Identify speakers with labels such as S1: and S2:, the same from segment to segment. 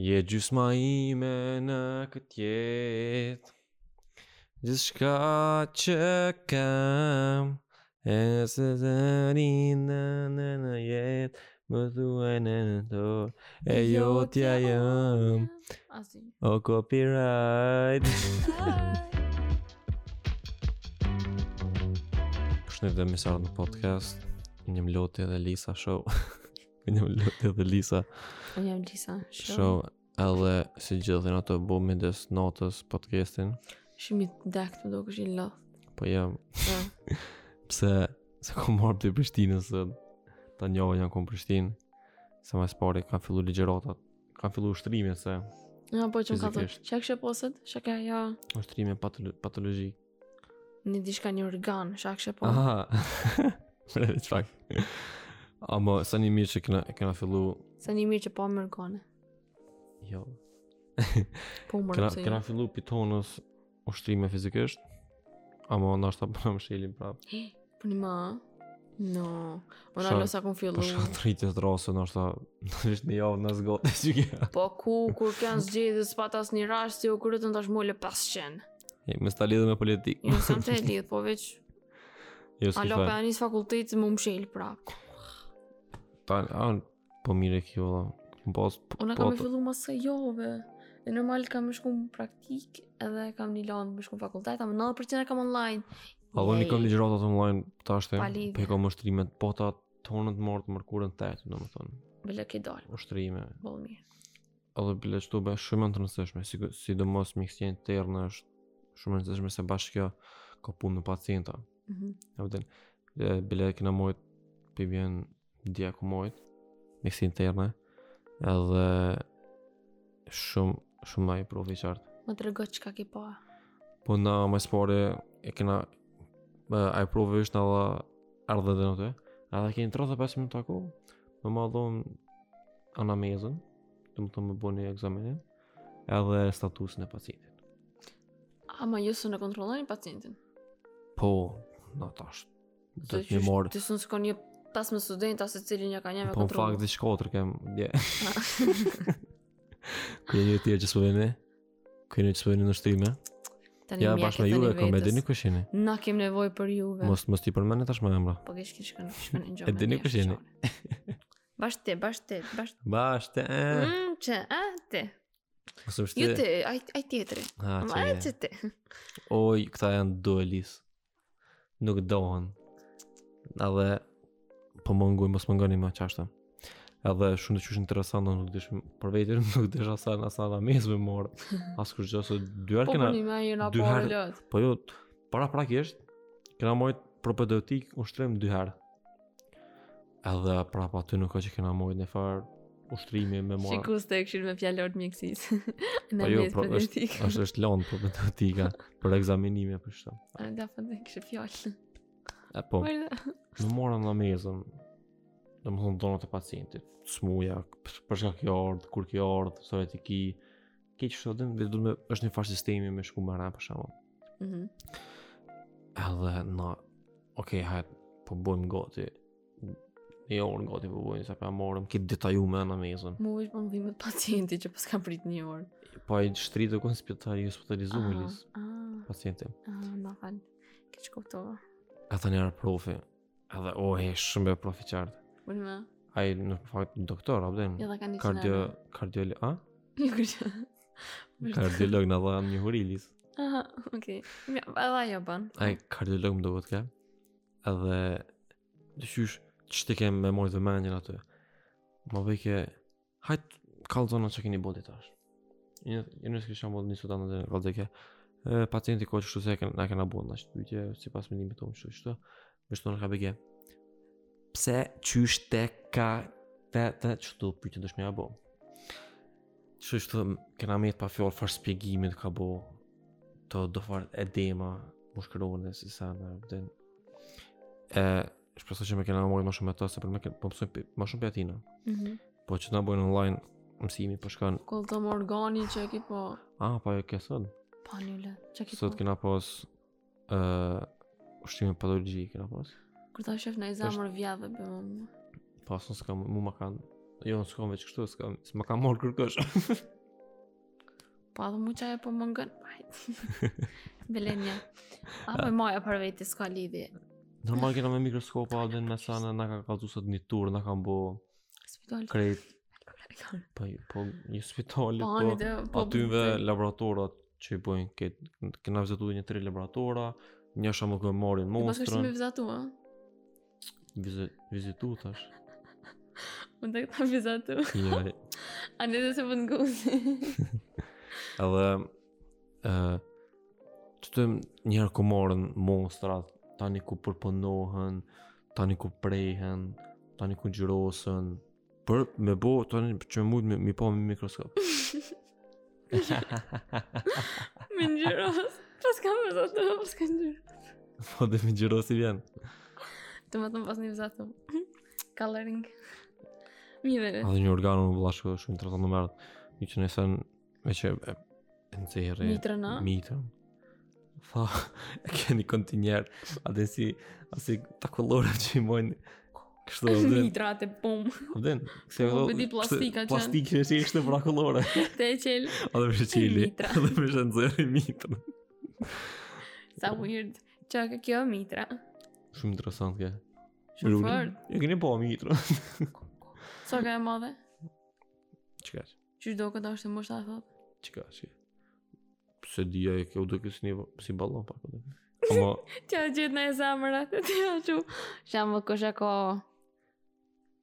S1: Je gjysma ime në këtë jetë Gjithë shka që kam E nëse të rinë në në jetë Më thuaj në në dorë E jotja jëm
S2: Asi.
S1: O copyright Përshëndet dhe misarë në podcast Një mloti dhe Lisa show Një mloti dhe Lisa
S2: Unë jam Lisa. Show.
S1: Show edhe si gjithin ato bu midis natës podcastin
S2: Shumë i dek të do kështë i lodh.
S1: Po jam
S2: Ja.
S1: pse se ku marrë për Prishtinës se ta njohë janë ku në Prishtinë se mas pari kanë fillu ligjeratat kanë fillu ushtrime se
S2: Ja, po që më ka thënë.
S1: Fizikisht.
S2: Shek shë posët, shek e ja,
S1: ushtrime patolo patologjik
S2: një dishka një organ, shek shë po.
S1: aha mre veç pak ama sa një mirë që këna, këna fillu
S2: Se një mirë që po më organe.
S1: jo
S2: Po më
S1: këna,
S2: rëmë se
S1: këna
S2: jo.
S1: fillu pitonës ushtrime fizikisht ama ndoshta ta përëm shilin prap
S2: Po një ma. No. Unë
S1: Shak-
S2: alo sa kënë
S1: po
S2: fillu.
S1: shkat rritjes rase ndoshta është një javë në zgotë që kja
S2: Po ku, kur kanë zgjidhë, s'pat as një rash, si u kërëtën tash mullë 500.
S1: me sta lidhe me politikë
S2: Jo, sam të e lidhë, po veç,
S1: jo s'ki
S2: alo
S1: fe.
S2: pe anis fakultet më më shilë prap.
S1: Ta, an, po mire kjo, da. Më pas, po,
S2: Unë
S1: po,
S2: kam e fillu mas së jove. Dhe normal kam e shku në praktik edhe kam një lanë me shku në fakultet, ama 90% e kam online.
S1: a dhe një kam
S2: Yay.
S1: ligjëratat online, ta ashtë,
S2: Pa lidhje.
S1: pe i kam ushtrimet, po ta tonët martë mërkurën të etë, do më thonë,
S2: Bile ke dalë,
S1: ushtrime,
S2: bolë mirë.
S1: a dhe bile qëtu be shumë e në të nësëshme, si, si do mos mikësjen të tërnë është shumë e nësëshme se bashkë kjo ka punë me pacienta,
S2: Mhm.
S1: e vëtën, bile këna mojt, për vjen djeku mojt, mikësjen të tërnë, edhe shumë, shumë ma i profi qartë.
S2: Më të rëgët që ka ke pa.
S1: Po na më spore e kena a e provë është edhe ardhe dhe në të A dhe keni 35 minuta ku Më ma dhon anamezën Të më të më bo një egzamenin Edhe statusin e pacientit
S2: Ama ju së në kontrolloni pacientin.
S1: Po, na tash Do
S2: Se
S1: të një
S2: qysh-
S1: morë
S2: Ti së në s'ka një 15 studenta se cilin ja ka një me
S1: Po në fakt dhe shkotër kem dje
S2: Ah.
S1: Kërë një tjerë që së vëni Kërë një që së vëni në shtrime
S2: Tani
S1: Ja
S2: mjekët
S1: bashkë me
S2: tani
S1: juve, kom e
S2: vetës.
S1: dini kush jeni
S2: Na kem nevoj për juve.
S1: Mos, mos ti përmeni tash me emra
S2: Po ke shkin shkën, shkën në gjohë.
S1: E dini kush jeni?
S2: Bashtë ti, bashtë ti, bashtë
S1: Bashte
S2: Mm, që, a, ti.
S1: Mos më
S2: Ju
S1: shte
S2: ti, aj, aj tjetëri.
S1: Ha,
S2: Ma,
S1: që
S2: a,
S1: Ah, je.
S2: që ti.
S1: Oj, këta janë duelis. Nuk dohen. Edhe po munguj, mos mungoni më çashtë. Edhe shumë të qysh interesant, nuk dish për vetën, nuk dish asaj asaj na mes me mor. As kur gjë se dy
S2: Po
S1: herë kena,
S2: përni me i
S1: dy
S2: rapore
S1: herë-
S2: lëtë.
S1: po jo, para prakisht kena mojt propedeutik ushtrim dy herë. Edhe prapa aty nuk ka që kena mojt në farë ushtrimi me mor.
S2: Shikus të e këshirë me fjallor të mjekësis.
S1: Po
S2: Në
S1: jo,
S2: mes
S1: pro,
S2: për të
S1: është është është lënë propedeutika për ekzaminime për shtë.
S2: A da fa po, dhe kështë fjallë.
S1: E po.
S2: Ojda.
S1: Në morën në mezën, dhe më thonë donat e pacientit, smuja, p- për shka kjo ardhë, kur kjo ardhë, sore t'i ki, ki që shodin, dhe du me, është një farë sistemi me shku mërë për shama.
S2: Mhm.
S1: Edhe na, okej, hajtë, po bojmë gati, një orë gati po bojmë, sa pa morëm, ki detaju me në mezën.
S2: Mu është po më dhimet pacienti që pas kam prit një orë.
S1: Pa i Po shtritë ku në spitali, ju spitalizu me
S2: Aha,
S1: lisë,
S2: aha.
S1: pacientin.
S2: Ah, ma falë. Ke që kuptova.
S1: Ata njerë profi, edhe o, oh, e shumë e profi qartë.
S2: Unë me,
S1: Ai në fakt doktor, abden.
S2: ja dhe ka një Jo,
S1: Kardio, kardio, a?
S2: Një kërë
S1: Kardiolog në dha një hurilis.
S2: Aha, okej. Mja, edhe ajo ban.
S1: Ai kardiolog më duhet ka. Edhe dyshysh ç'ti kem me mojë vëmendjen aty. Ma veke hajt kallzona që keni bodi tash. Një një nëse kisha mund një sudan në kallzeke. E, pacienti kohë kështu se e kanë na kanë bën tash pyetje sipas mendimit tonë kështu kështu. Më shtonë ka bege. Pse qysh te ka te te çto pyetje do shmja bë. Kështu kështu kena me pa fjalë far shpjegimin ka bë. Të do far edema, mushkërone, si sa në vden. E, shpresoj që me kena mojë më shumë me ta, se për me kena, po mësoj pi- më shumë për atina.
S2: Mhm.
S1: Po që të na bojnë online, mësimi po shkon,
S2: Kollë të më organi që e ki po...
S1: a, pa e ke sot,
S2: Pa një lë. Që e ki po...
S1: sot kena pas, e, ushtrime patologji kena pas.
S2: Kur ta shef në i zemër vjave, bë më më.
S1: Pas në s'ka, mu ma kanë Jo, s'kam veç kështu, s'kam, s'ma kam marrë kërkosh.
S2: Po edhe mu qaje po më ngën. Belenja. Apo i maja për veti s'ka lidhje.
S1: Normal kena me mikroskopa, dhe në mesana, na ka kallzu sot një tur, na kam bo
S2: Spital.
S1: krejt,
S2: Kre...
S1: po, po, një spitali,
S2: Po,
S1: po,
S2: anë dhe... Po,
S1: aty në laboratorat që i bojnë, ke- kena vizitu një tre laboratora, një është më këmë marrin
S2: Mos kështë
S1: monstrën,
S2: me vizatu, a?
S1: vizi- vizitu tash.
S2: Unë të këta vizatu.
S1: Jo,
S2: A në dhe se për nguzi.
S1: edhe, ë të të njerë ku marrin monstrat, tani ku përpunohen, tani ku prehen, tani ku gjyrosen, për me bo, tani që mund me, mi pa me mikroskop.
S2: me njëros. Pas ka me vizatu, pas ka njërë.
S1: po dhe me gjyrosi vjen.
S2: Të më thëmë pas një vizatu. Coloring. Mirë dhe.
S1: Edhe një organu në bllashkë shumë interesant në merët. Një që nësen me që e, e nëzirë,
S2: Mitrë na.
S1: mitrën. Tha, e keni kontinjer, atë si, asi takollore që i mojnë kështu avdin,
S2: Mitra atë pum.
S1: avdin.
S2: Po, bëdi plastika qenë.
S1: Plastikë që e kështu brakullore.
S2: Te e qelë.
S1: Edhe për qili,
S2: Mitra.
S1: edhe për që nëzirë i mitrën.
S2: Sa weird. Qa ka kjo mitra.
S1: Shumë interesant ke.
S2: Shumë
S1: Rulli.
S2: fort.
S1: E keni po mitrën.
S2: Sa ka e madhe?
S1: Qëka që,
S2: Qysh do këtë është e mështë a thot?
S1: qëka që. Se dhja e kjo duke si një, si ballon pak. o dhe. Ama,
S2: Tja gjithë në e zamër atë, tja që... Qa më kësha ka...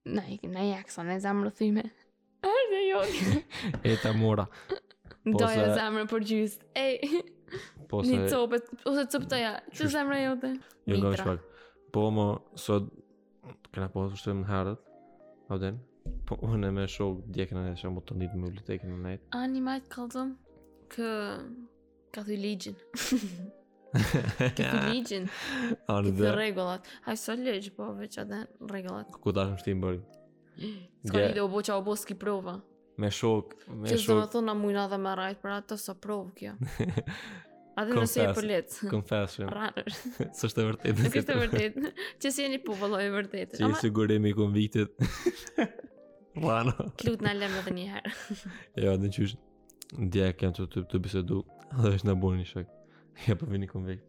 S2: Na i na i akson e zamër thyme. Erdhe jo.
S1: e ta mora.
S2: Doja
S1: se-
S2: zamër për gjys. Ej,
S1: Po
S2: një
S1: se
S2: copët, ose copëtoja. Që
S1: Qysh-
S2: zamër e jote?
S1: jo nga
S2: Mitra.
S1: shpak. Po më sot kena po të shtem në herët. A vden? Po unë me shok djekën e shumë të ndit me bibliotekën e nejtë.
S2: Ani majtë kalëzëm? Kë... Ka thuj ligjin. Ka thuj ligjin. Ka
S1: Ani
S2: thuj
S1: dhe
S2: regullat. Haj, sa ligjë, po veç atë regullat.
S1: ku tash më shtim bëri.
S2: Ska
S1: Gje-
S2: një do bo qa o bo s'ki prova.
S1: Me shok, me
S2: Që s'do me
S1: shok
S2: thonë na mujna dhe me rajt për atë sa provë kjo. Atë nëse e
S1: Confess.
S2: përlet.
S1: confession.
S2: Rarë.
S1: S'është e vërtetë.
S2: Nuk është Pra. e vërtet. Që si jeni po vëlloj e vërtet.
S1: Që i
S2: Ama
S1: sigurimi i konviktit. Rana.
S2: klut na lëm edhe një herë.
S1: Jo, në qysh djekë jam që të, të bisedu dhe është në bërë një shok. Ja po vini konvikt.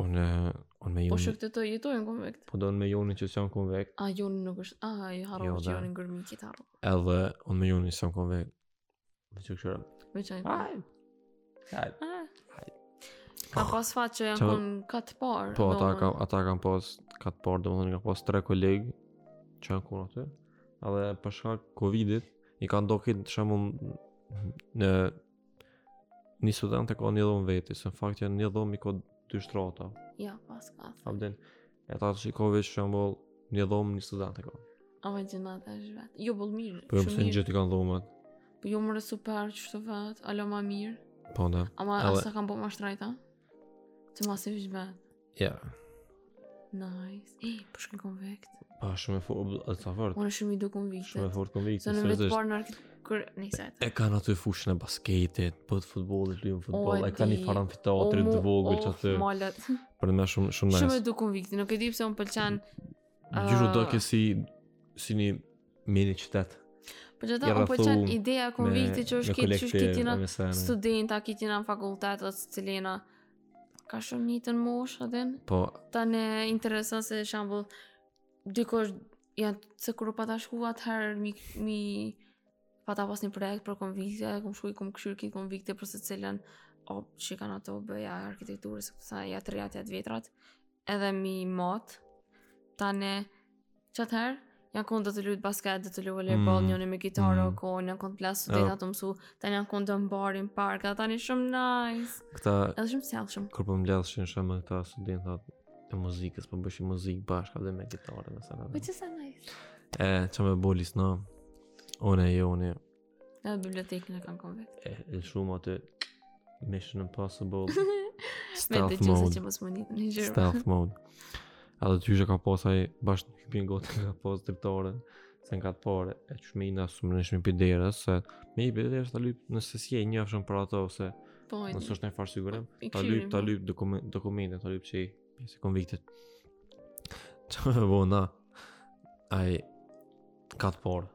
S1: Unë, unë me
S2: Po
S1: joni,
S2: shokët e të jetojnë konvekt.
S1: po do unë me joni që s'jam konvekt,
S2: A joni nuk është. A i
S1: Jo,
S2: harrova që
S1: da.
S2: joni ngërmi kitarë.
S1: Edhe unë me joni sa më kon vek. Me që këshëra.
S2: Me çaj.
S1: Haj.
S2: Ah. Ka pas fat që janë
S1: Qa-
S2: kon katë parë.
S1: Ah. Po, ata
S2: domon.
S1: kam, ata kam pas, ka të parë, domethënë kanë pas tre kolegë që janë kon aty. Edhe për shkak Covidit, i kanë do këtë shembull në një student e ka një dhomë veti, se në fakt janë një dhomë i ka dy shtrata,
S2: Ja, pas ka.
S1: a vden. E ta që i ka veç shembull një dhomë një student e ka.
S2: Ama gjinat është vetë. Jo bull mirë.
S1: Po jo
S2: shumë
S1: pse në
S2: mirë.
S1: gjithë i kanë dhomat.
S2: Po jo mëre super çto vet. Alo ma mirë.
S1: Po ne.
S2: Ama
S1: Edhe-
S2: asa kam po ma shtrajta. Që ma se vish vetë.
S1: Ja.
S2: Nice. E, po shkën konvekt.
S1: Pa shumë e fortë, është sa fort.
S2: Unë shumë i du konviktet.
S1: Shumë e fortë konvikti,
S2: Se në vetë
S1: seriozisht.
S2: parë në arkit kër... Nëjse
S1: E kanë aty fushën e basketit, bëhet futbolli, luajnë futboll,
S2: e
S1: e kanë një
S2: di.
S1: far amfiteatri të vogël që aty.
S2: Malet.
S1: Për më shumë shumë
S2: oh, Shumë
S1: nice.
S2: e du konvikti, nuk e di pse unë pëlqen.
S1: Gjyru do
S2: Ah.
S1: ke si si një mini qytet.
S2: Po që ta
S1: Ja
S2: unë pëlqen
S1: rrethu
S2: ideja e konvikti që është kitë që është kitë jena
S1: me sene.
S2: studenta, kitë jena në fakultet ose cilena. Ka shumë një të në moshë, adin.
S1: Po,
S2: Ta në interesën se shambull, dikush janë se kërë pa ta shku atëherë mi, mi pa ta pas një projekt për konvikte, kom shku i kom këshyrë kitë konvikte për se cilën o që kanë ato bëja arkitekturës, kësa ja të rejat ja të vetrat, edhe mi mat, ta në që atëherë, janë konë do të lutë basket, do të lutë volleyball,
S1: Mm,
S2: njëri me gitarë
S1: mm.
S2: o konë, janë konë të plasë
S1: Jo.
S2: studentat të mësu, tani janë konë të mbarin park, edhe tani shumë nice,
S1: këta
S2: edhe shumë sjellshëm.
S1: kur po mbledhshin shumë këta studentat e muzikës, po bëshin muzikë bashkë edhe me gitarë me
S2: Po
S1: sene.
S2: që sa nice.
S1: E, që me bolis në, one e joni,
S2: Edhe bibliotekën e kanë konvekt.
S1: e, e shumë aty, Mission Impossible,
S2: Me
S1: Stealth
S2: dëgjuese
S1: Mode.
S2: që mos më një një gjërë.
S1: Stealth mode. Edhe ty që ka pas ai bashkë në hypin gotë ka pas drejtore se nga të pare e që me i nësë më nëshmi për derës se me i për derës të lyp nëse si e njëfshën për ato ose
S2: Po, i-
S1: nëse është në farë sigurim
S2: i
S1: të
S2: kshirin,
S1: lyp të
S2: po.
S1: lyp dokumen- dokumente të lyp që i pjesë konviktit që me bo na ai ka të porë.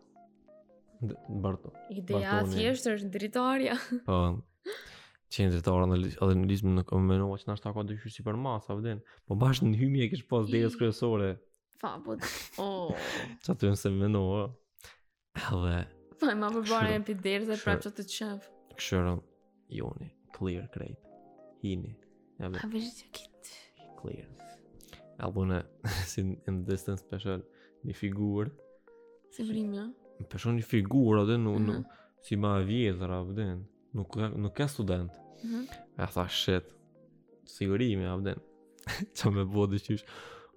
S1: D- Barto.
S2: Ideja
S1: Bartoni.
S2: thjesht është dritarja.
S1: Po, qenë dritore në analizmë në komenova që nashta ka dyqysh si për masa, vëden. Po bashkë në hymje kish pas derës kryesore,
S2: Fa, po, oh,
S1: që aty nëse menova. Edhe,
S2: fa, ma përbara
S1: Kështu.
S2: po, e për derë dhe
S1: Kështu.
S2: prapë që të qëf.
S1: këshërën, joni, clear, krejt, hini, edhe,
S2: A vështë që kitë.
S1: clear. Albune, si n- in the distance special, një figurë,
S2: Se vrimë, ja?
S1: peshon një figurë, atë nuk,
S2: Mhm.
S1: nuk, si ma e vjetër, vëden, nuk, ka- nuk ka student.
S2: Mhm.
S1: E tha shit Sigurimi a vden Qa me bo dyqysh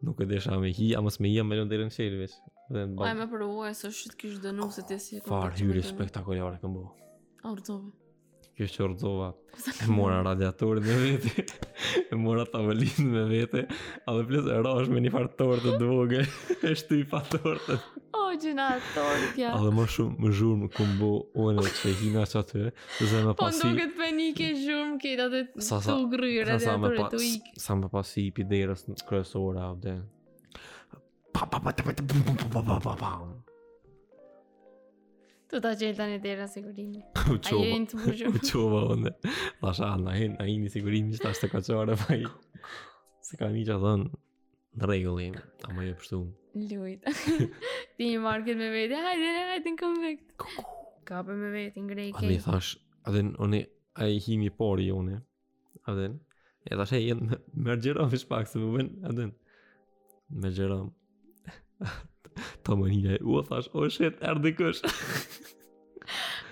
S1: Nuk e desha me hi A mos me hi a me lënë dherën qelë veç Dhe në
S2: Pa Po, e
S1: bak
S2: me përvoj, së shqit kishë dënu se të si...
S1: Farë hyri spektakolare këm bo
S2: A urtove.
S1: Kjo që ordova E mora radiatorin me vete E mora tavolin me vete A dhe plus e rash me një farë torë të dvoge E shtu i pa torë të
S2: O, gjëna, torit, ja.
S1: A dhe më shumë më zhurmë këm bo Unë që hina që aty Dhe me
S2: Po
S1: pasi
S2: ndoket penike zhurmë këtë atë
S1: Sa- sa-
S2: të gryrë,
S1: Sa sa me
S2: radiatorit
S1: pa
S2: të ikë.
S1: sa me pas i pi derës në kryesore a vden. Pa pa pa ta, pa ta, pum, pum, pum, pa pa pa pa.
S2: Të ta qelë tani dera sigurimi.
S1: U
S2: A je
S1: çova.
S2: në të bushur.
S1: U çova unë. Pasha na hin, na hini sigurimi që tash të kaçore pa po i. Se ka një që dhën në regulli, a më je pështu.
S2: Lujt. Ti i market me vete, hajde, hajde në konvekt. Kape me vete, ngrej
S1: A dhe i
S2: kejtë.
S1: thash, a dhe unë a i himi pari jone. A dhe e thash, e jenë me gjeram ish pak se më ven, a dhe me gjeram. Ta më një, u thash, o shit, erdi kush.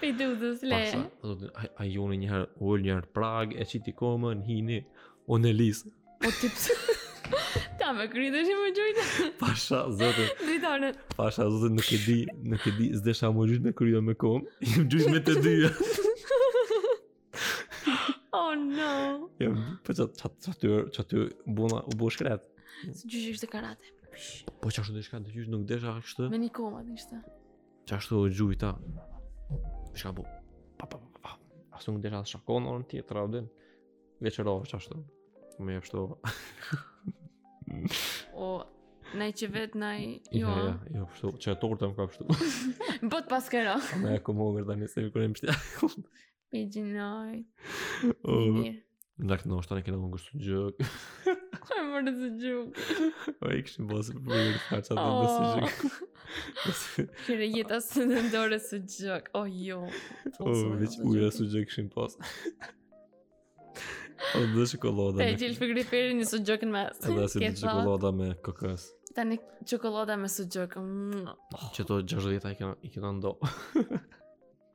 S2: Pe dudës, le.
S1: Pasha, thotë, a- a jone njëherë ullë njëherë prag, e qiti komën, hini, o në lisë.
S2: Po ti pse? Ta me krytë është më gjojtë.
S1: Pasha, zote,
S2: Dritarën.
S1: pasha, zote, nuk e di, nuk e di, zdesha më gjysh me kryo me komë, jem gjysh me të dyja.
S2: Oh no.
S1: Jem, po që aty, që aty, bona, u bo shkret.
S2: Së gjysh ishte karate.
S1: Po që ashtu diçka, të gjysh nuk desha kështë,
S2: Me një komat ishte.
S1: që ashtu u gjujta. Shka bu, pa, pa, pa, pa, ashtu nuk desha shakon orën tjetër, avdin, veqerove që ashtu, me jep shtova.
S2: O, naj që vetë, naj...
S1: Ja,
S2: Jo,
S1: ja, jo, pështu, që e tortëm ka pështu.
S2: bot pas këra.
S1: Me e komogër tani se kur e mbështja.
S2: Pe gjinoj.
S1: Oh,
S2: Mirë.
S1: Nga këtë noshtë tani kena unë kështu gjëk
S2: Kërë mërë të gjukë.
S1: O e këshim bosë për përgjë të faqat dhe
S2: Oh.
S1: ndësë gjëk
S2: Kërë jeta së në ndore së gjëk O jo
S1: O, veç uja së gjëk këshim pas O dhe
S2: Te
S1: shokolada
S2: e gjelë për griperi një së gjëk në mes
S1: Edhe si
S2: Ke
S1: dhe shokolada me kokës
S2: thënë, Tani qokolada me së gjëk Mm.
S1: Që to 60 i kena, i kena ndo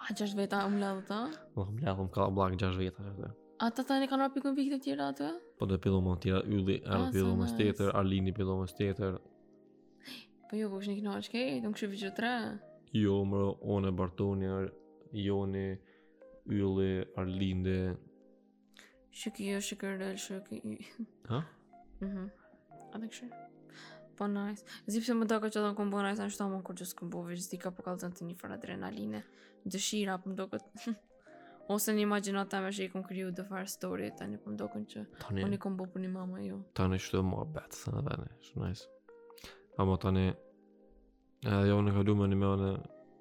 S2: A gjësh veta u mladhë ta
S1: Më më ledhëm ka blak 60 veta që
S2: A ta tani kanë rapë pikën pikë të tjera atë
S1: Po dhe pillu më tira Ylli
S2: Ah,
S1: Erë pillu
S2: sa
S1: më
S2: nice.
S1: stetër Arlini pillu më stetër
S2: Po jo kush një këna është kej Të më këshu vëgjë tre
S1: Jo mëro One Bartoni Ar- Joni Ylli Arlinde
S2: Shuki jo shukërël shuki
S1: Ha?
S2: Mhm. A të këshu Po nice Zipse më doka që do në kombo nice Në shtomë kur që s'kom bo veç Zdi ka po kalëzën të një farë adrenaline Dëshira po më doket Ose një imaginata me që i kom kriju dë farë story Tani po më dokën që
S1: Tani
S2: Unë i kom bo për një mama jo
S1: tani shtu e mua betë, se në vene, shë nice. Ama tani, edhe jo në kalu me një mëne,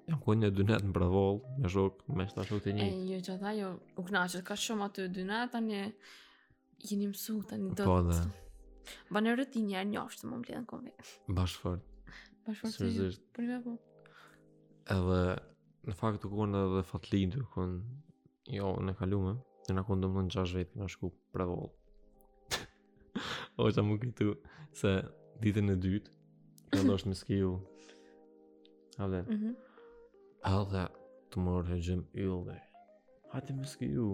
S1: jam ku një dynet në bravol, me shok, me shta shok të
S2: E
S1: një.
S2: jo që ata jo U knaqet ka shumë aty dy na Tani jeni mësu tani do
S1: Po dhe,
S2: Ba në rëti njerë njofsh të më mbledhën konve
S1: bashkë fort,
S2: Bashkëfort të ju
S1: sërëzisht.
S2: Për me po
S1: Edhe, në fakt të konë edhe fatlin të konë, jo në kalu me, në në konë dëmë në 6 vetë, në shku bravol. o që më këtu, se ditën e dytë, në ndoshtë me skiju, avden,
S2: Mhm.
S1: Edhe të morë hëgjëm yllë Hajde me skiju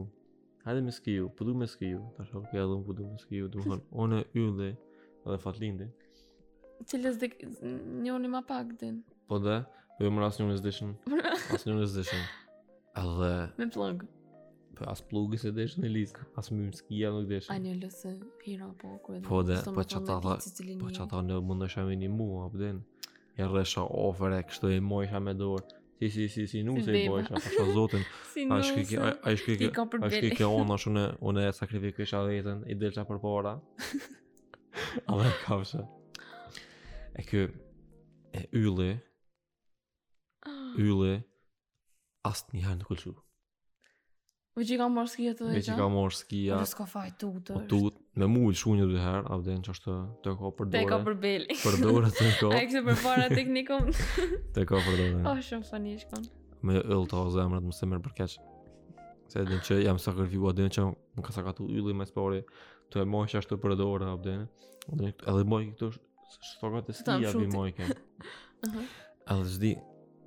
S1: Hajde me skiju, po du me skiju Ta shok ja dhëm po du me skiju Du më thonë, one yllë edhe fatlindi
S2: Cilës dhe njoni ma pak din
S1: Po dhe, po jo më ras njën e zdeshën As njën e zdeshën Edhe,
S2: Me plëngë
S1: po as plugës e deshën e lisë As më më skija nuk
S2: A
S1: deshën
S2: një lësë hira po kur edhe
S1: Po dhe,
S2: s'do
S1: po
S2: më
S1: që
S2: thonë
S1: ta
S2: me
S1: tha-
S2: ditë secilin
S1: Po
S2: një.
S1: që ata në mundësha me një mua, apden Ja rresha ofër e kështu e mojsha me dorë Si, si, si, si, nuk
S2: Si
S1: se i
S2: beba.
S1: bojsha Pasha zotin
S2: Si
S1: A
S2: në
S1: shkoj kjo, a- a shkoj
S2: ti
S1: kjo,
S2: ka
S1: a
S2: përbele.
S1: shkoj kjo ona shune, une e sakrifikisha vetën, i delqa për para. a dhe e kafsha. E kjo, e ylli, ylli asë një herë në kulqu.
S2: Veç i ka marrë skija të
S1: Me që ka morë skia,
S2: Po s'ka faj
S1: o
S2: tutër.
S1: tut, me mu shu një dy herë, a vden që është të ka
S2: Te ka
S1: përdore,
S2: për beli.
S1: përdore të ka,
S2: A e kështë përpara teknikon?
S1: të ka
S2: O,
S1: përdore.
S2: shumë fani shkon.
S1: Me yll të o zemrat më se merë për keq. Se edhe që jam sakrifikuar, edhe që më ka sakatu ylli me spori, të e moj që ashtë të përdore, a vden, edhe moj këto sh- shtokat e
S2: Këta më
S1: skia vi
S2: shuti.
S1: moj kem.
S2: Aha.
S1: Edhe zdi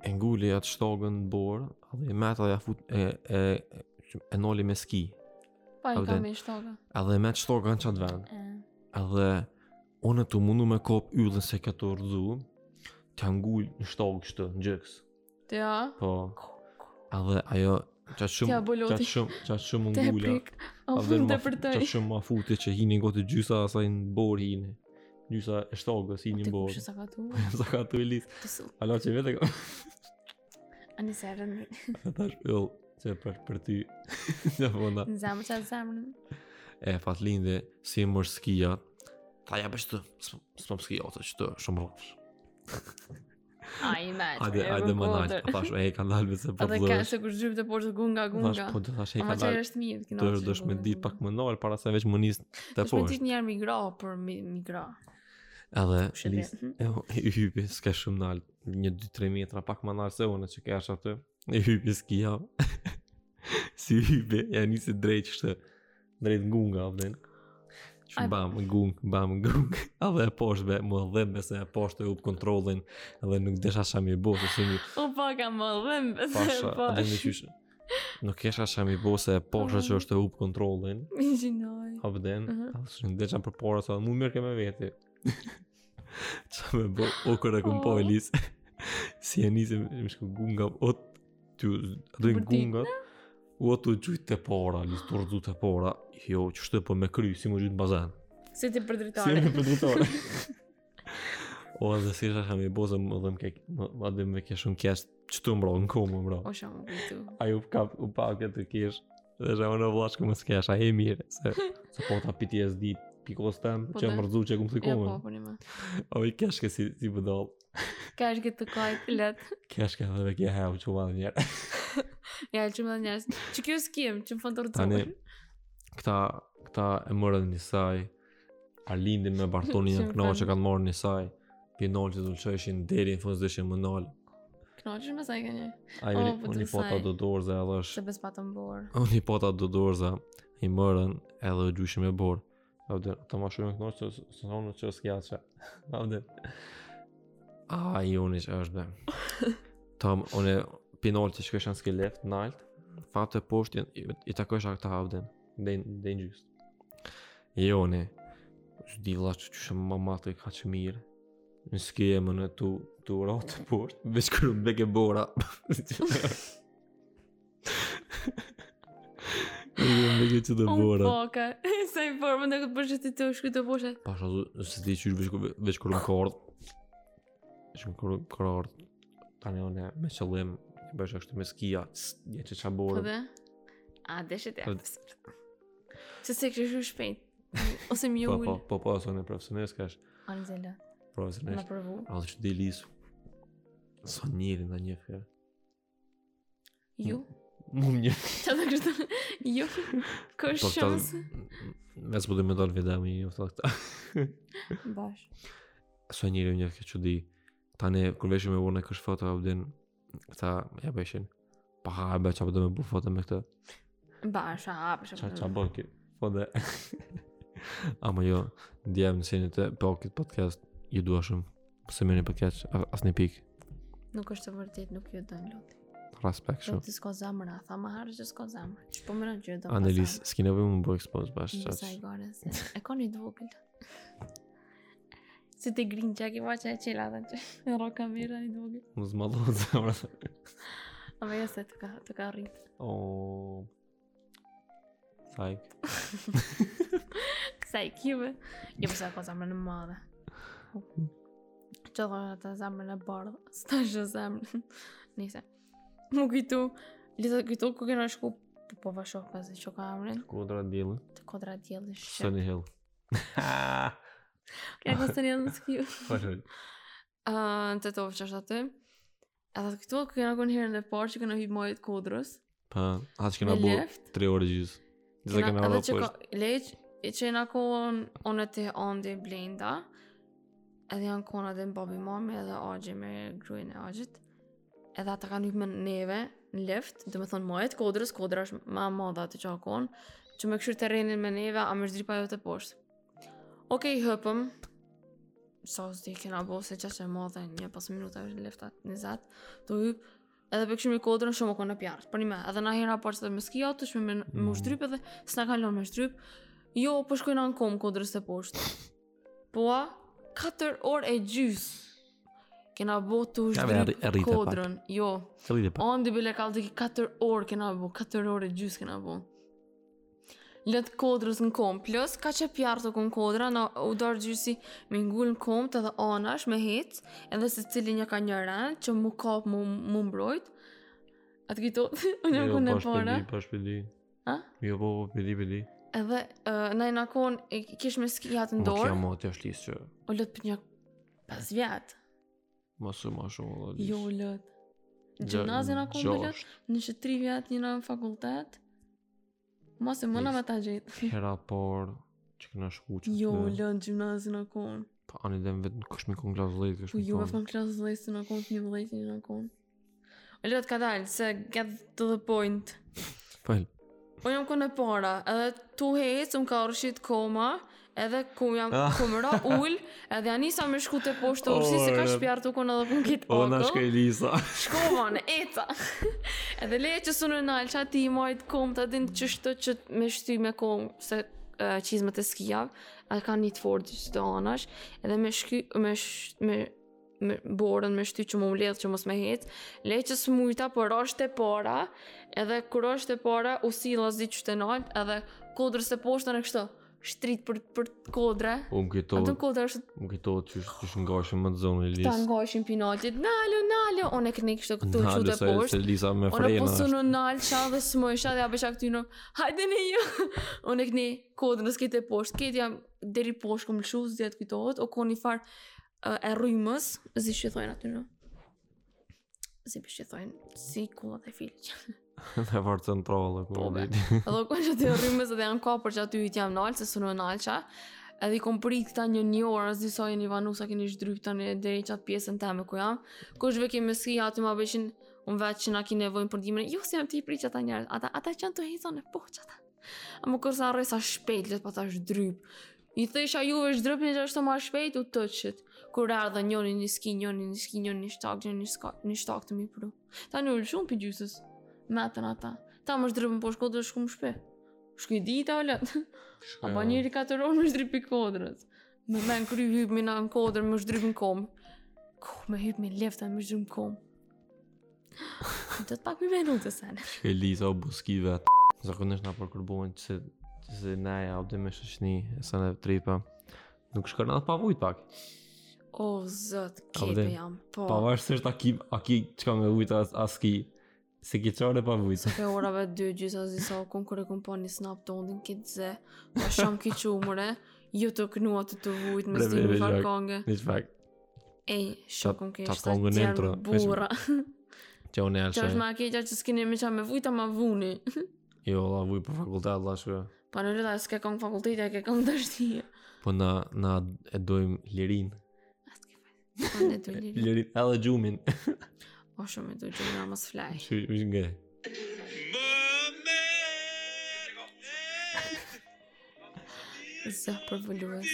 S1: e nguli atë shtogën në borë, edhe e meta ja fut e e e, e noli me ski.
S2: Pa i ka
S1: Vërtet.
S2: me shtoka.
S1: Edhe e met shtogën çat vend.
S2: E.
S1: Edhe unë të mundu me kop yllën se këto rëdhu, t'ja ngul në shtogë kështu, në gjëks.
S2: Te ja.
S1: Po, edhe ajo qatë shumë,
S2: T'ja boloti.
S1: qatë shumë, qatë shumë
S2: Te e
S1: ngula.
S2: prik. O,
S1: edhe
S2: më
S1: ma-
S2: të përtoj.
S1: Qatë shumë ma futi që hini gotë gjysa asaj në borë hini. Gjysa e shtogës hini
S2: Te
S1: në
S2: kushë
S1: borë.
S2: sa ka tu.
S1: Sa ka të i lisë.
S2: Të su.
S1: Ala që vete ka.
S2: A një serën.
S1: E tash yllë që jo, për, për ty në fonda.
S2: Në zemë qatë zemrën.
S1: e fatlinde si e mërë skia, ta ja bështë, s'pëm skia të që të shumë rrëfsh.
S2: A i me që
S1: Ajde, ajde më nalë, a thash, e, ka nalë me se po
S2: A
S1: për
S2: dhe ka
S1: përdojsh.
S2: se kur zhypë të poshtë gunga
S1: Thash,
S2: gunga.
S1: po të thash, e,
S2: Ama
S1: ka
S2: që
S1: nalë,
S2: është mirë të
S1: të
S2: kënaqësh.
S1: është me ditë pak më nalë, para se veç më nisë të
S2: Është me
S1: poshtë.
S2: ditë njerë migra për mi- migra.
S1: Edhe,
S2: Kush e di?
S1: lisë, e, o, i hypi, s'ka shumë nalë, një 2-3 metra, pak më nalë se unë që ka është atë, e hypi skia, si hypi, ja nisi drejt kështë, drejt ngunga, avden. Që
S2: Ai-
S1: bam, gung, bam, gung Edhe e poshtë be, më dhe me se e poshtë e up kontrolin Edhe nuk desha sa mi bo Se si mi
S2: U pa ka më dhëm.
S1: pasha
S2: po.
S1: Edhe mi qysh Nuk kesha sa mi bo se e poshtë që është e up kontrolin
S2: Mi gjinoj.
S1: A vden
S2: Mhm.
S1: Edhe së në desha për para Sa mu mirë ke me veti Qa me bo O kërë e këmë po
S2: Oh.
S1: e lisë Si e nisi Më shku gunga O të Dhe
S2: Bërtit,
S1: gunga U o të gjujtë të para Lisë të rëzu të para Jo që shtë po me kry Si më gjujtë bazan
S2: Si ti për
S1: Si
S2: dritare.
S1: jemi për dritore. o, dhe si shë kam i bozëm, dhe më ke, më, adhe më ke shumë kesh, që të mbro, në komë mbro.
S2: O shumë u kujtu.
S1: A ju ka, u pa këtë kesh, dhe shë unë vlashkë më s'kesh, a e mirë, se, se po ta PTSD, pikos tem,
S2: Po
S1: që
S2: da.
S1: më rëzu që e këmë të
S2: Ja po
S1: komën.
S2: po një më.
S1: O, i kesh ke si, si bëdoll,
S2: Ka është këtë të kajt let.
S1: kesh ke dhe ke heu që u madhe njerë.
S2: Ja, që më dhe njerës. Që kjo s'kim, që më fënë të
S1: Tani,
S2: rëcuar.
S1: këta, këta e mërën njësaj, Arlindin me Bartonin janë
S2: Shumë
S1: knaqë që
S2: fun.
S1: kanë marrë njësaj, pinol që dulqeshin deri në fund s'deshin më nalë.
S2: Knaqësh me sa i ka një.
S1: Ajo
S2: Oh,
S1: oh,
S2: po
S1: unë i
S2: të
S1: pata
S2: saj.
S1: do dorëza edhe
S2: Se
S1: është
S2: bes pa të mborë.
S1: Unë i pata do dorëza I mërën edhe u gjyshin me borë Avder, ta ma shumë e kënoqë se së thonë që s'ki atë që Avder A, i unë që është be Tam, unë pinol që shkësha në s'ki left, nalt Fatë e poshtë i, i, i takësha këta avden Dhe në gjysë I unë Që di vla që që më matë i ka që mirë Në s'ki e më në tu Tu ratë poshtë Veç kërë më beke bora Unë më beke që të bora
S2: Po, ka. Sa i formën e këtë përshë të të shkuj të poshe.
S1: Pasha du, se ti qysh veç, kur- veç kërëm kërë Veç kërëm kërë Tani one me qëllim i Bësh është me skia tss, Dje që qa
S2: Po
S1: borë
S2: dhe? A, deshet e
S1: Po-
S2: apësër. Se se kështë shu shpejt. Ose mi
S1: Po, po,
S2: ullë.
S1: po, po, asë one profesionisht ka është
S2: Anzela, në
S1: Profesionisht
S2: përvu.
S1: A dhe që di lisu Sa njeri në një fjerë
S2: Ju?
S1: Mu më një
S2: Qa të kështë? Ju?
S1: Po,
S2: Kështë shumë se?
S1: Me së përdu me dalë vedemi Ju thë këta
S2: Bash.
S1: Sa njeri një fjerë që di Tani kur veshim me unë e kësh foto Abdin Këta ja beshin Pa ha e be qa përdu me bu foto me këta
S2: Bash, a, përshë.
S1: Qa qa bën kjo? Po dhe Ama jo, djemë në sinit e po këtë podcast Ju dua shumë Po Se meni për keq, a- asnjë pikë
S2: Nuk është e vërtet, nuk ju dënë lutë.
S1: Respekt
S2: Do
S1: shumë
S2: të s'ko zemër, a tha ma harë që s'ko zemër. Që po më rënë që ju dënë
S1: Anelis, s'ki nevojë më bëj expose bashkë
S2: Në sa i
S1: qaq
S2: gare, se e ka një dvokël. Si të grinë që a ki vaqa e qela dhe që në ro kamera një dvokël.
S1: Më zmadhon zemra
S2: A me jo se të ka, të ka rritë.
S1: O Sajk
S2: Kësa i kjube, një përsa ka zamrën e madhe. Që thonë ata zamrën e bardhë, së të shë zamrën. Nise. Mu kujtu, lisa kujtu ku kena shku, po po vashoh pas që ka amrin,
S1: Kodra djeli
S2: të kodra djeli shqip.
S1: Sunny Hill
S2: Kja ka së një në skju.
S1: Fashoj
S2: Ë, Në të tovë që është aty, Edhe këto këna kon herën e parë që këna hyj mojët kodrës.
S1: Pa, Po, atë që
S2: Me
S1: kena bo
S2: left.
S1: 3 orë gjysë. Disa
S2: Kena-
S1: kena
S2: edhe
S1: rrë
S2: që
S1: poshtë.
S2: ka- Leq, e që në kon onë të ande blenda, edhe janë kona dhe në babi mami edhe agje me grujnë e agjit. Edhe ata kanë hyjë me neve në lift, dhe me thonë mojët kodrës, kodrë është ma madha të që ka kon, që me këshyrë terrenin me neve, a më shdripa jo të poshtë. Okej, hëpëm, sa s'di kena bo se qa që e madhe, një pas minuta është lefta 20, të hyp, edhe për këshim i kodrën shumë o konë në pjartë, për një me, edhe na hera parë se me s'ki atë, shme me, me u
S1: Mm.
S2: shtryp edhe, s'na ka lonë me shtryp, jo, po shkojnë anë komë kodrës të poshtë, po a, 4 orë e gjysë, kena bo të u
S1: Ja, me arri-
S2: shtryp
S1: arrite pak.
S2: kodrën, jo,
S1: Ka lidhe pa.
S2: Andi bile ka të ki 4 orë kena bu, 4 orë e gjysë kena bu. Lët kodrës në kom, plus ka që pjartë ku në kodra, na u dorë gjysi me ngull në kom të dhe anash me hec, edhe se cili një ka një rend që mu kap mu, mu mbrojt. Atë kito, unë
S1: Jo,
S2: jam ku në para.
S1: Pa shpedi,
S2: Ha?
S1: Jo, po, po, pedi, pedi.
S2: Edhe uh, na i na kon, e kish me skijat në
S1: Ma po kja
S2: dorë,
S1: ma të është lisë që...
S2: o lët për një 5 vjetë.
S1: Ma së ma shumë, o lisë.
S2: Jo, o lët. Gjimnazin akon bile, në që 3 vjetë njëna në fakultet. Mos e mëna
S1: Nis.
S2: me ta gjetë.
S1: Hera por, që kena shku që
S2: Jo,
S1: të-
S2: lënë gjimnazin akon.
S1: Pa, anë i dem vetë në kësh mi kon glas dhejt, kësh
S2: Po
S1: mi
S2: jo, me
S1: kon...
S2: fam klasë dhejtë në akon, të një dhejtë në akon. E lëtë ka dalë, se get to the point.
S1: Fel,
S2: Unë jam kënë e para, edhe tu hecë, më ka rëshit koma, edhe ku jam
S1: Ah.
S2: ku më ra ull, edhe anisa me shku të poshtë të ursi, se ka
S1: Ore.
S2: shpjarë të konë edhe pun
S1: o,
S2: kitë
S1: po, na
S2: ako.
S1: shkoj Lisa.
S2: Shkova në eta. Edhe le që sunë nalë që ati i majtë kom të adin që shtë që me shty me kom se uh, qizmet e skijav, a ka një të fortë që të anash, edhe me shky, me, sh, me, me borën me shty që më mledhë që mos me hecë, le që së mujta për është e para, edhe kur është e para, u sila zdi që të nalë, edhe kodrës e poshtën e kështë, shtrit për, për kodre,
S1: O, më
S2: atë
S1: kujtohet,
S2: kodre është
S1: më kujtohet që është- që është nga shumë më të zonë
S2: ta
S1: Lisa.
S2: ngajshin pinatit, nalo, nalo, unë e këni kështë këtu që të
S1: se,
S2: poshtë,
S1: se Lisa me
S2: Unë
S1: frena
S2: po
S1: është.
S2: sunu nalë qa dhe s'moj qa dhe abesha këty në Hajde ne jo Unë e këni kodë nësë kete poshtë Kete jam deri poshtë këmë lëshu Zdi atë kujtohet O koni farë uh, e rrymës Zi që thojnë aty në Zi për që thojnë Si kullat e filë që
S1: Në vartë në trallë,
S2: Po,
S1: po,
S2: be.
S1: ditë.
S2: Edhe u koni që të rrymës edhe janë ka për që aty i t'jam nalë Se sunu nalë qa Edhe i kom prit këta një një orë, as disa jeni vanu sa keni shdryp tani deri qatë pjesën teme ku jam. Kushve kemi ski aty ma beshin unë vetë që na ki nevojnë për dimrin, jo se jam ti i prit që ata njerëz, ata, ata që janë të hezon e po që ata. A më kërsa arre sa shpejt, letë pa ta shdryp. I thësha juve shdrypni që është të ma shpejt, u të qëtë. Kur ardhe njëri një ski, njëri një ski, njëri një shtak, njëri një shtak, një shtak të mi pru. Ta një ullë shumë për gjysës, metën ata. Ta më shdrypën po shkodë dhe shku më shpe. Shkuj dita o letë. A ba njëri katër orë më shdrypi kodrës. Me me në kry hypë mi na në kodrë, më shdrypin kom. Ku, me hypë mi lefta, më shdrypin kom. Do të pak mi menu të sen.
S1: Shkoj Lisa o buski vetë. Zakonisht na përkërbojnë që se, që se ne ja obde me shëshni, e sa ne tripa. Nuk shkërnë atë pa vujt pak.
S2: O, zot,
S1: A vden?
S2: kepe jam. Po,
S1: Pa vërësisht a ki, a ki që ka me vujt as, as ki. Se ki qare pa vujt.
S2: pe orave 2 gjysa zi sa kon kërë kom pa një snap të ondin kitë ze, pa shumë ki qumëre, jo të kënua të të vujt me
S1: Bre,
S2: stin
S1: bre,
S2: me farë
S1: gjak.
S2: kange.
S1: Një që fakt,
S2: Ej, shokon ke
S1: ta
S2: është
S1: kongën
S2: të
S1: intro,
S2: tjerë
S1: veç-
S2: burra.
S1: që unë e
S2: Që është
S1: alëshe.
S2: ma keqa që s'kini me qa me vujta ma vuni.
S1: Jo, la vujt për fakultet, la shkë.
S2: Pa në rrëta, s'ke kong fakultete, ke kong dështia.
S1: Po na, na e dojmë lirin.
S2: Atë ke fajtë. Pa në të lirë.
S1: Lirin, edhe gjumin.
S2: O, shumë e të gjurë, na mos flaj.
S1: Që është nge.
S2: Zë përvullues.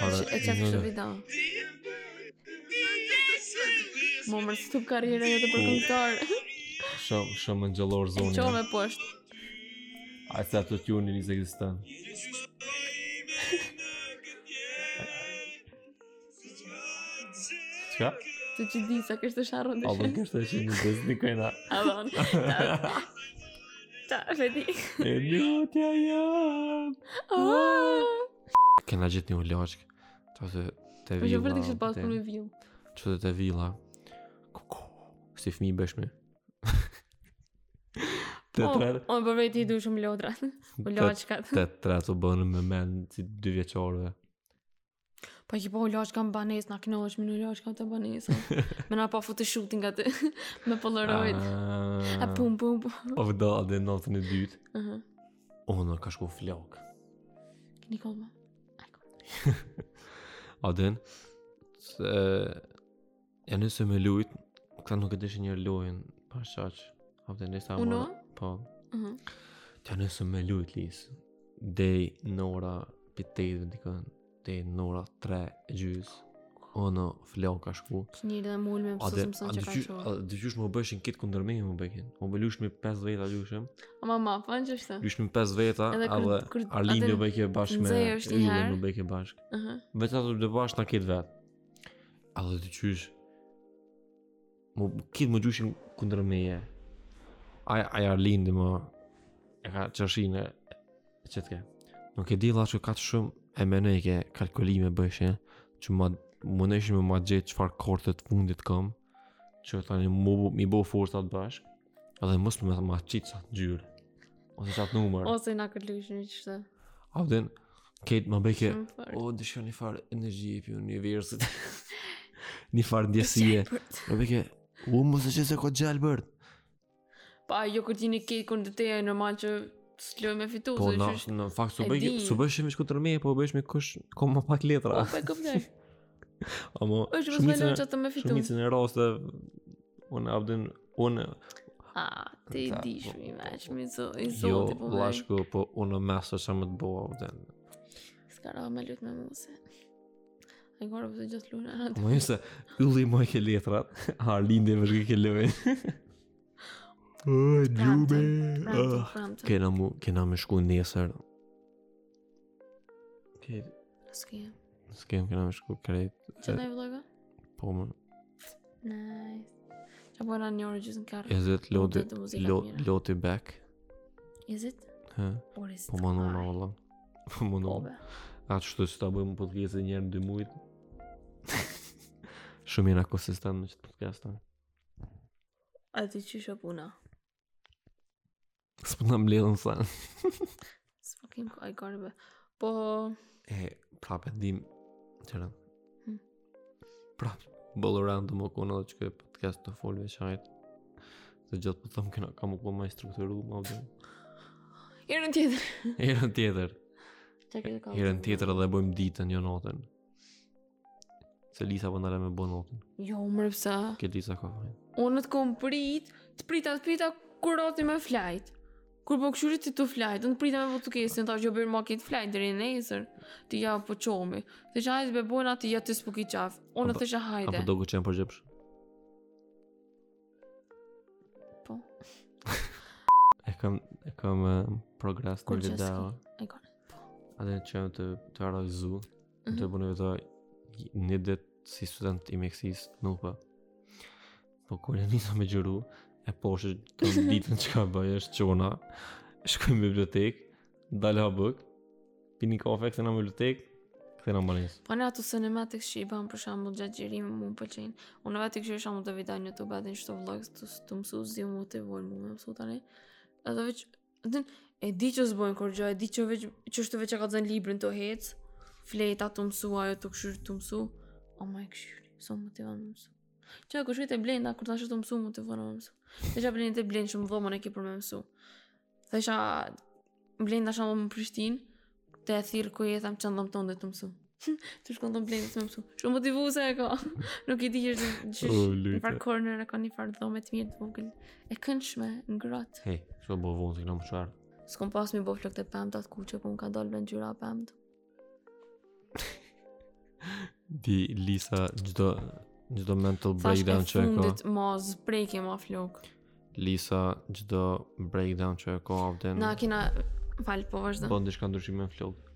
S1: Hore,
S2: E qa kështë vida. Më mërë stup karriere jetë për këngëtar.
S1: shumë, shumë në gjëllor
S2: E
S1: zonë.
S2: qove poshtë.
S1: A se atë të tjuni një se ekzistan. Çka?
S2: Të që di sa kështë të sharron të
S1: A do
S2: shenë.
S1: kështë e që një besë një kajna.
S2: A dhon. Ta, fedi.
S1: E lutja jam
S2: Oh!
S1: Kena gjithë një ullaqk Qa të të
S2: Po që
S1: vila
S2: vërë të kështë pas punë me
S1: te-
S2: vjim.
S1: Qa të të vila Kuku Si fmi beshme Të
S2: Po,
S1: tre
S2: unë për veti i du shumë lodra. Po
S1: Të
S2: loqkat.
S1: të tre të bënë me men Si dy vjeqarëve
S2: Po që po lash kam banes, na kënohesh me në lash kam të banesa. me na pa futë shooting atë me Polaroid.
S1: Ah.
S2: A pum pum pum.
S1: Po vdo atë natën e dytë.
S2: Aha.
S1: Ona ka shku flok.
S2: Keni kolma.
S1: Aden, se e nëse me lujt, këta nuk e dishin njërë lojën, pa shaq. Aden, nëse amon.
S2: Uno? Mhm.
S1: Po.
S2: Aha.
S1: Të nëse me lujt, Lis. Dej në ora pitejtë dhe dikën, dej në ora tre e gjys. Ona flok ka shku.
S2: Një dhe mul me
S1: A dhe, a
S2: mësuesin mëson çka
S1: dyqysh, a
S2: shoh.
S1: dyqysh më bëshin kitë kundër me më bëkin. Më bëllush me 5 veta lyshëm,
S2: Ama ma po, fun ç'është?
S1: lyshëm 5 veta,
S2: Edhe kur-
S1: edhe
S2: kur
S1: Arlin
S2: atë
S1: më bëjke bashkë me
S2: nxehësh një
S1: Ylen
S2: herë.
S1: më bëjke bashkë.
S2: Aha.
S1: Vetë ato dhe bashkë na kitë vetë. A dhe dyqysh, më kitë më gjushin kundër meje. Aj, aj Arlin dhe më, e ka qërshin e e që t'ke. Nuk e di la që ka të shumë e menejke kalkulime bëjshin, që ma më neshin me ma gjithë qëfar kortet fundit kam, që tani mu, mi bo forësat bashkë, edhe mos me ma qitë sa të gjyrë, ose sa të numër.
S2: Ose na këllushin ç'është.
S1: A vden, Kate ma bëjke,
S2: Shumë fort.
S1: o, dëshon një farë energji e pjë universit, një farë ndjesije. Ma bëjke, u, mos e që se ko gjelbërt.
S2: Pa, jo kur t'jini kejtë kur në të teja e normal që s'loj me fitu,
S1: Po,
S2: se
S1: na,
S2: qysh-
S1: në fakt, su
S2: e
S1: bëjke,
S2: di.
S1: su bëjshë me shku tërmeje, po bëjsh me kush, ko ma pak
S2: Po,
S1: letra.
S2: pa e këptoj.
S1: Amo,
S2: është mos me
S1: shumicën
S2: lojnë
S1: e-
S2: që të me fitu.
S1: shumicën e raste, unë abden, unë,
S2: A, ti
S1: Ta,
S2: di
S1: po,
S2: shumë i
S1: po,
S2: veç,
S1: po,
S2: mi zo- i
S1: jo,
S2: zoti po vej.
S1: lashko, po unë mesë që më të bo, abden.
S2: S'ka ra me lutë me muse. A i gore përse gjithë luna.
S1: Më jëse, ylli më ke letrat, Arlinde më shkë ke lojnë. Oj, gjume, ah.
S2: Kërë.
S1: Kena mu, kena me shku nesër. Kejt,
S2: Ski.
S1: s'kem kena me shku krejt.
S2: Që në i vloga?
S1: Po më,
S2: Nice. Që po në një orë gjysë në karë.
S1: e zet loti,
S2: të muzikat
S1: lo,
S2: mira.
S1: loti back.
S2: Is it?
S1: He,
S2: Or is it?
S1: po më nona,
S2: I?
S1: valla. Po më
S2: Po,
S1: nona.
S2: be.
S1: Atë shtu që ta bëjmë podcastin njerë në dy mujt. Shumë jena konsistent me qëtë podcasta.
S2: A ti qyshe puna?
S1: S'po na mbledhën sa.
S2: S'po kim ka i gore be. Po,
S1: E, prapë dim, qëra.
S2: Hmm.
S1: Prapë, bëllë random më kona dhe që këtë podcast të folë veçajt. Se gjithë po thëmë kena ka më kona ma i strukturu, ma vëdhe.
S2: herën tjetër.
S1: Herën tjetër.
S2: Çka ke ka?
S1: Herën tjetër edhe bëjmë ditën, jo natën. Se Lisa po ndale me bën natën.
S2: Jo, mërë pësa.
S1: Ke Lisa ka fajn.
S2: Unë të kom prit, të prita, të prita, kur rati me flajt. Kur po këshurit ti të flajt, unë prita me votu kesin, ta që bërë ma këtë flajt deri nesër, ti ja po qomi. Të që hajtë bebojnë ati ja të s'puki qaf. Unë
S1: Apo-
S2: të që
S1: Apo
S2: hajde.
S1: do gëqen për gjepsh.
S2: Po.
S1: E kam, e kam eh, progres në
S2: Kur që
S1: video.
S2: s'ki. E kone.
S1: Atë në qëmë të, të realizu.
S2: Mhm.
S1: Të bënë vetë një ditë si student i meksis nuk pa. Po kur e nisa me gjëru, e poshë të ditën që ka bëj është qona, shkoj në bibliotekë, dalë ha bëk, pini kafe, këthena në bibliotekë, këthena në banesë.
S2: Po në ato cinematics që i ban për shembull gjatë gjerimit mu më pëlqejnë. Unë vetë i këshirë shembull të vidaj në YouTube atë në shto vlogs të, të mësu zi u motivojnë mu me mësu tani. Edhe veç, atë e di që zbojnë kur gjë, e di që veç që është veç e ka zënë librin të hec, fleta të mësu, ajo të këshirë të mësu. O oh my këshirë, so motivon më mësu. Që e këshirë të blenda, kur tash të mësu, motivon më mësu. Dhe që blenda të blenë shumë dhomën e ke për me mësu. Dhe që blenda shumë më Prishtinë, të e thirë ku jetam që ndëm tonë dhe të mësu. Të shkon të mblenit me mësu. Shumë motivuese e ka. Nuk i di që është- që
S1: O,
S2: është
S1: Luta.
S2: në farë corner e ka një farë dhome të mirë të vogël. E këndshme, ngrohtë.
S1: Hej, që bo vonë të këna më qarë.
S2: S'kom pas mi bo flok të pëmët atë kuqe, po më ka dalë me ngjyra pëmët.
S1: Di Lisa gjdo, gjdo mental
S2: Thash e
S1: breakdown që e ka.
S2: fundit ma zbrejke ma flok.
S1: Lisa gjdo breakdown që e ka avden.
S2: Na kina... Falë, po vazhdo.
S1: Bën diçka ndryshime në flok.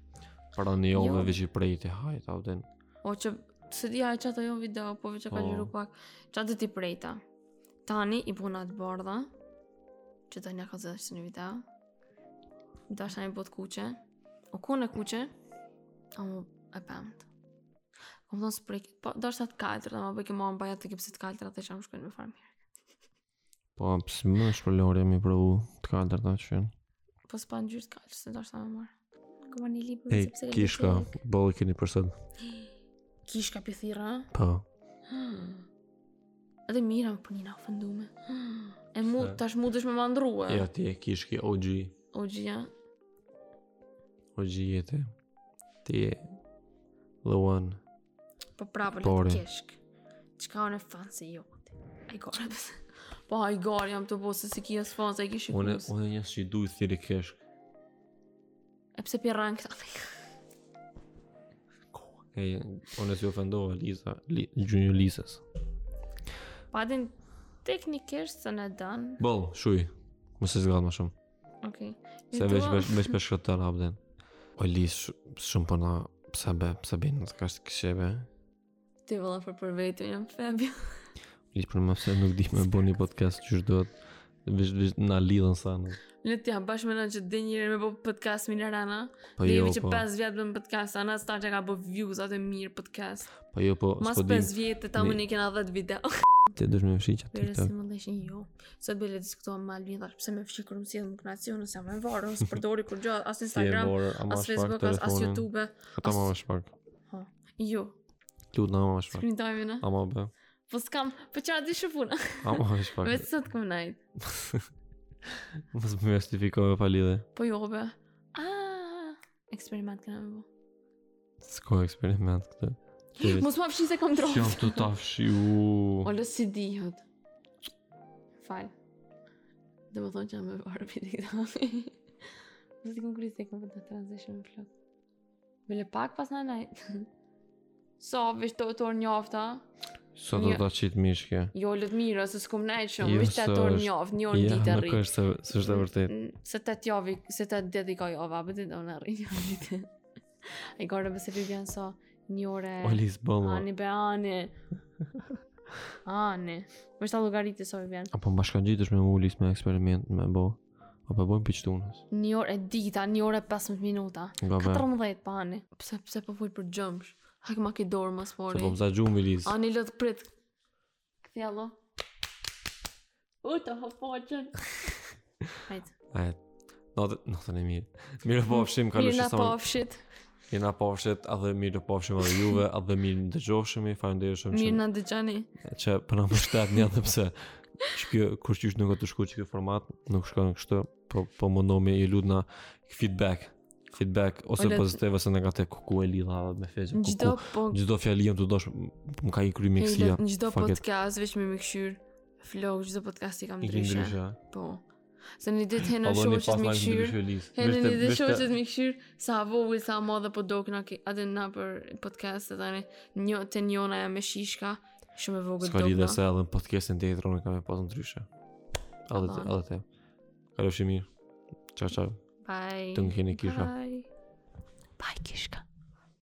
S1: Para një jove
S2: Jo.
S1: veç i prej të hajt avden.
S2: O që... Se di ajo që ato jo video, po veç e ka
S1: Po.
S2: gjyru pak. Që atë ti prejta. Tani i punat bardha. Që tani ja ka zësh në video. Dasha një bot kuqe. O kone kuqe. A mu e pëmët. Kom thonë së prejke... Po, dasha të kaltër, dhe ma bëjke ma më bajat të kipësit kaltër, atë që më shkojnë me farë mirë.
S1: Po, pse më shpëllore mi provu të kaltër ta që.
S2: Po s'pa në gjyrë të kaltër, se dasha me marë. Këmër një libër,
S1: Ej, kishka, bëllë keni përsët.
S2: kish ka pithira.
S1: Po.
S2: Edhe mira për një na ofendume. E mu,
S1: Se-
S2: tash mundesh me mandrua.
S1: Ja ti e kish ki OG,
S2: O gjia.
S1: OG jete. Ti je the one.
S2: Po prapë
S1: Pori.
S2: le të keshk. Çka unë fan se jo. Ai gore. pse- Po ai gore jam të bosë se kia sfon se ai kish
S1: Unë
S2: shikues.
S1: unë një si duhet thirrë kesh.
S2: E pse pirran këta?
S1: Ej, unë si ofendova Lisa, li, Gjunjë Lisës.
S2: Pa din teknikisht se ne dan.
S1: Bol, shuj. Mos e zgjat më shumë.
S2: Okej.
S1: Se veç veç veç për shkëtar abden. O Lis sh- shumë po na pse be, pse be në të kash kësheve.
S2: Ti valla për për vetën jam febi.
S1: Lis për më pse nuk di me bu një podcast që duhet veç veç na lidhën sa në.
S2: Le t'ja bash me në që dhe njëri me po podcast Minerana.
S1: Po
S2: Dhe
S1: jo,
S2: jemi që
S1: po.
S2: 5 vjetë bëm podcast, anë sta që ka bë views atë mirë podcast.
S1: Po jo, po
S2: Mas
S1: s'po di.
S2: 5 vjetë të ta
S1: Ne-
S2: më një kena 10 video.
S1: Ti duhet më fshi çat
S2: Vere si
S1: TikTok.
S2: më ndeshin jo. Sot bële diskutuam me Albin, thash pse me fshi kërëm si edhe më kënacion, nëse jam e varë, nëse përdori kur gjatë, as
S1: Si e
S2: Instagram,
S1: morë, ama
S2: as
S1: shpak
S2: Facebook, as, as
S1: telefonin.
S2: YouTube.
S1: Ata
S2: as-
S1: ma më shpak.
S2: Jo,
S1: Lut na ma më shpak.
S2: skrindojme në.
S1: Ama be.
S2: Po no. s'kam, po qara di shëpuna.
S1: Ama më shpak.
S2: Vetë sot këm najtë.
S1: Mos më justifikove pa lidhje.
S2: Po jo, be. Ah, eksperiment këna me bo.
S1: S'ka eksperiment këtë. Ti-
S2: Mos më fshi se kam
S1: Jam
S2: dronë.
S1: të tafshi u.
S2: Ola si dihet. Fal. Dhe më thonë që jam e varë për këta. Dhe t'i kom krytë se kom për të transition më plot. Vele pak pas në najt. Sa, vesh të orë njofta?
S1: Sa do
S2: Një-
S1: ta qit mishke.
S2: Jo, lëtë mirë, se s'kom najt shumë.
S1: Jo,
S2: Vesh të
S1: s'është.
S2: orë njoft, një orë
S1: Ja,
S2: ditë
S1: nuk
S2: rritë. Mm,
S1: është se s'është e vërtet.
S2: Se të t'jovi, se të dedikoj ova, për të do në rritë. E gore bëse për vjen sa një orë...
S1: Olis bolla.
S2: Ani be ani. Ani. Më shta llogaritë sa i vjen.
S1: Apo më bashkangjitesh me ulis me eksperiment me bo. Apo bojmë piçtunës.
S2: Një orë e dita, një orë e 15 minuta.
S1: Nga be.
S2: 14 pa ani. Pse, pse po full për gjëmsh? Hak ma ki dorë më
S1: Se po
S2: spori.
S1: më za gjumë ulis.
S2: Ani lët prit. Këthi allo. U të hëpoqën. Hajtë.
S1: E, natën, natën e mirë. Mirë po fshim ka
S2: Mirë
S1: lëshë
S2: na
S1: sa më-
S2: pofshit.
S1: mirë na pofshet, edhe mirë po fshim edhe juve, edhe mirë në dëgjoshemi, falenderoj shumë
S2: Mirë
S1: që
S2: na dëgjani.
S1: që po na mbështetni edhe pse shpjë kur qysh nuk do të shkojë ky format, nuk shkon kështu, po po mundohemi i lutna feedback feedback ose
S2: Olet-
S1: pozitiv ose negativ ku ku e lidha edhe me fezë ku
S2: Gjdo
S1: ku
S2: po...
S1: çdo fjalë jam të dosh më ka i kry miksia
S2: Në gjdo
S1: fuck it.
S2: podcast, veç me më këshyrë. Flok, gjdo podcast i kam
S1: i kry
S2: ndryshe.
S1: ndryshe
S2: Po. Se një ditë
S1: po
S2: henë
S1: do
S2: shoqës
S1: një
S2: më
S1: pas na
S2: këshyrë.
S1: ndryshe lis
S2: Hene një dhe shoqet mi këshirë, sa vogël, sa madhe po do këna ki, atë na për podcast, të tani, një, të njona ja me shishka, shumë e vogël
S1: s'ka
S2: do
S1: lidhje
S2: këna.
S1: se edhe në podcastin tjetër unë kam e pas ndryshe edhe te-
S2: Aman.
S1: edhe te kalofshi mirë ciao ciao
S2: Bye.
S1: Të ngeni kisha.
S2: Bye. Bye kishka.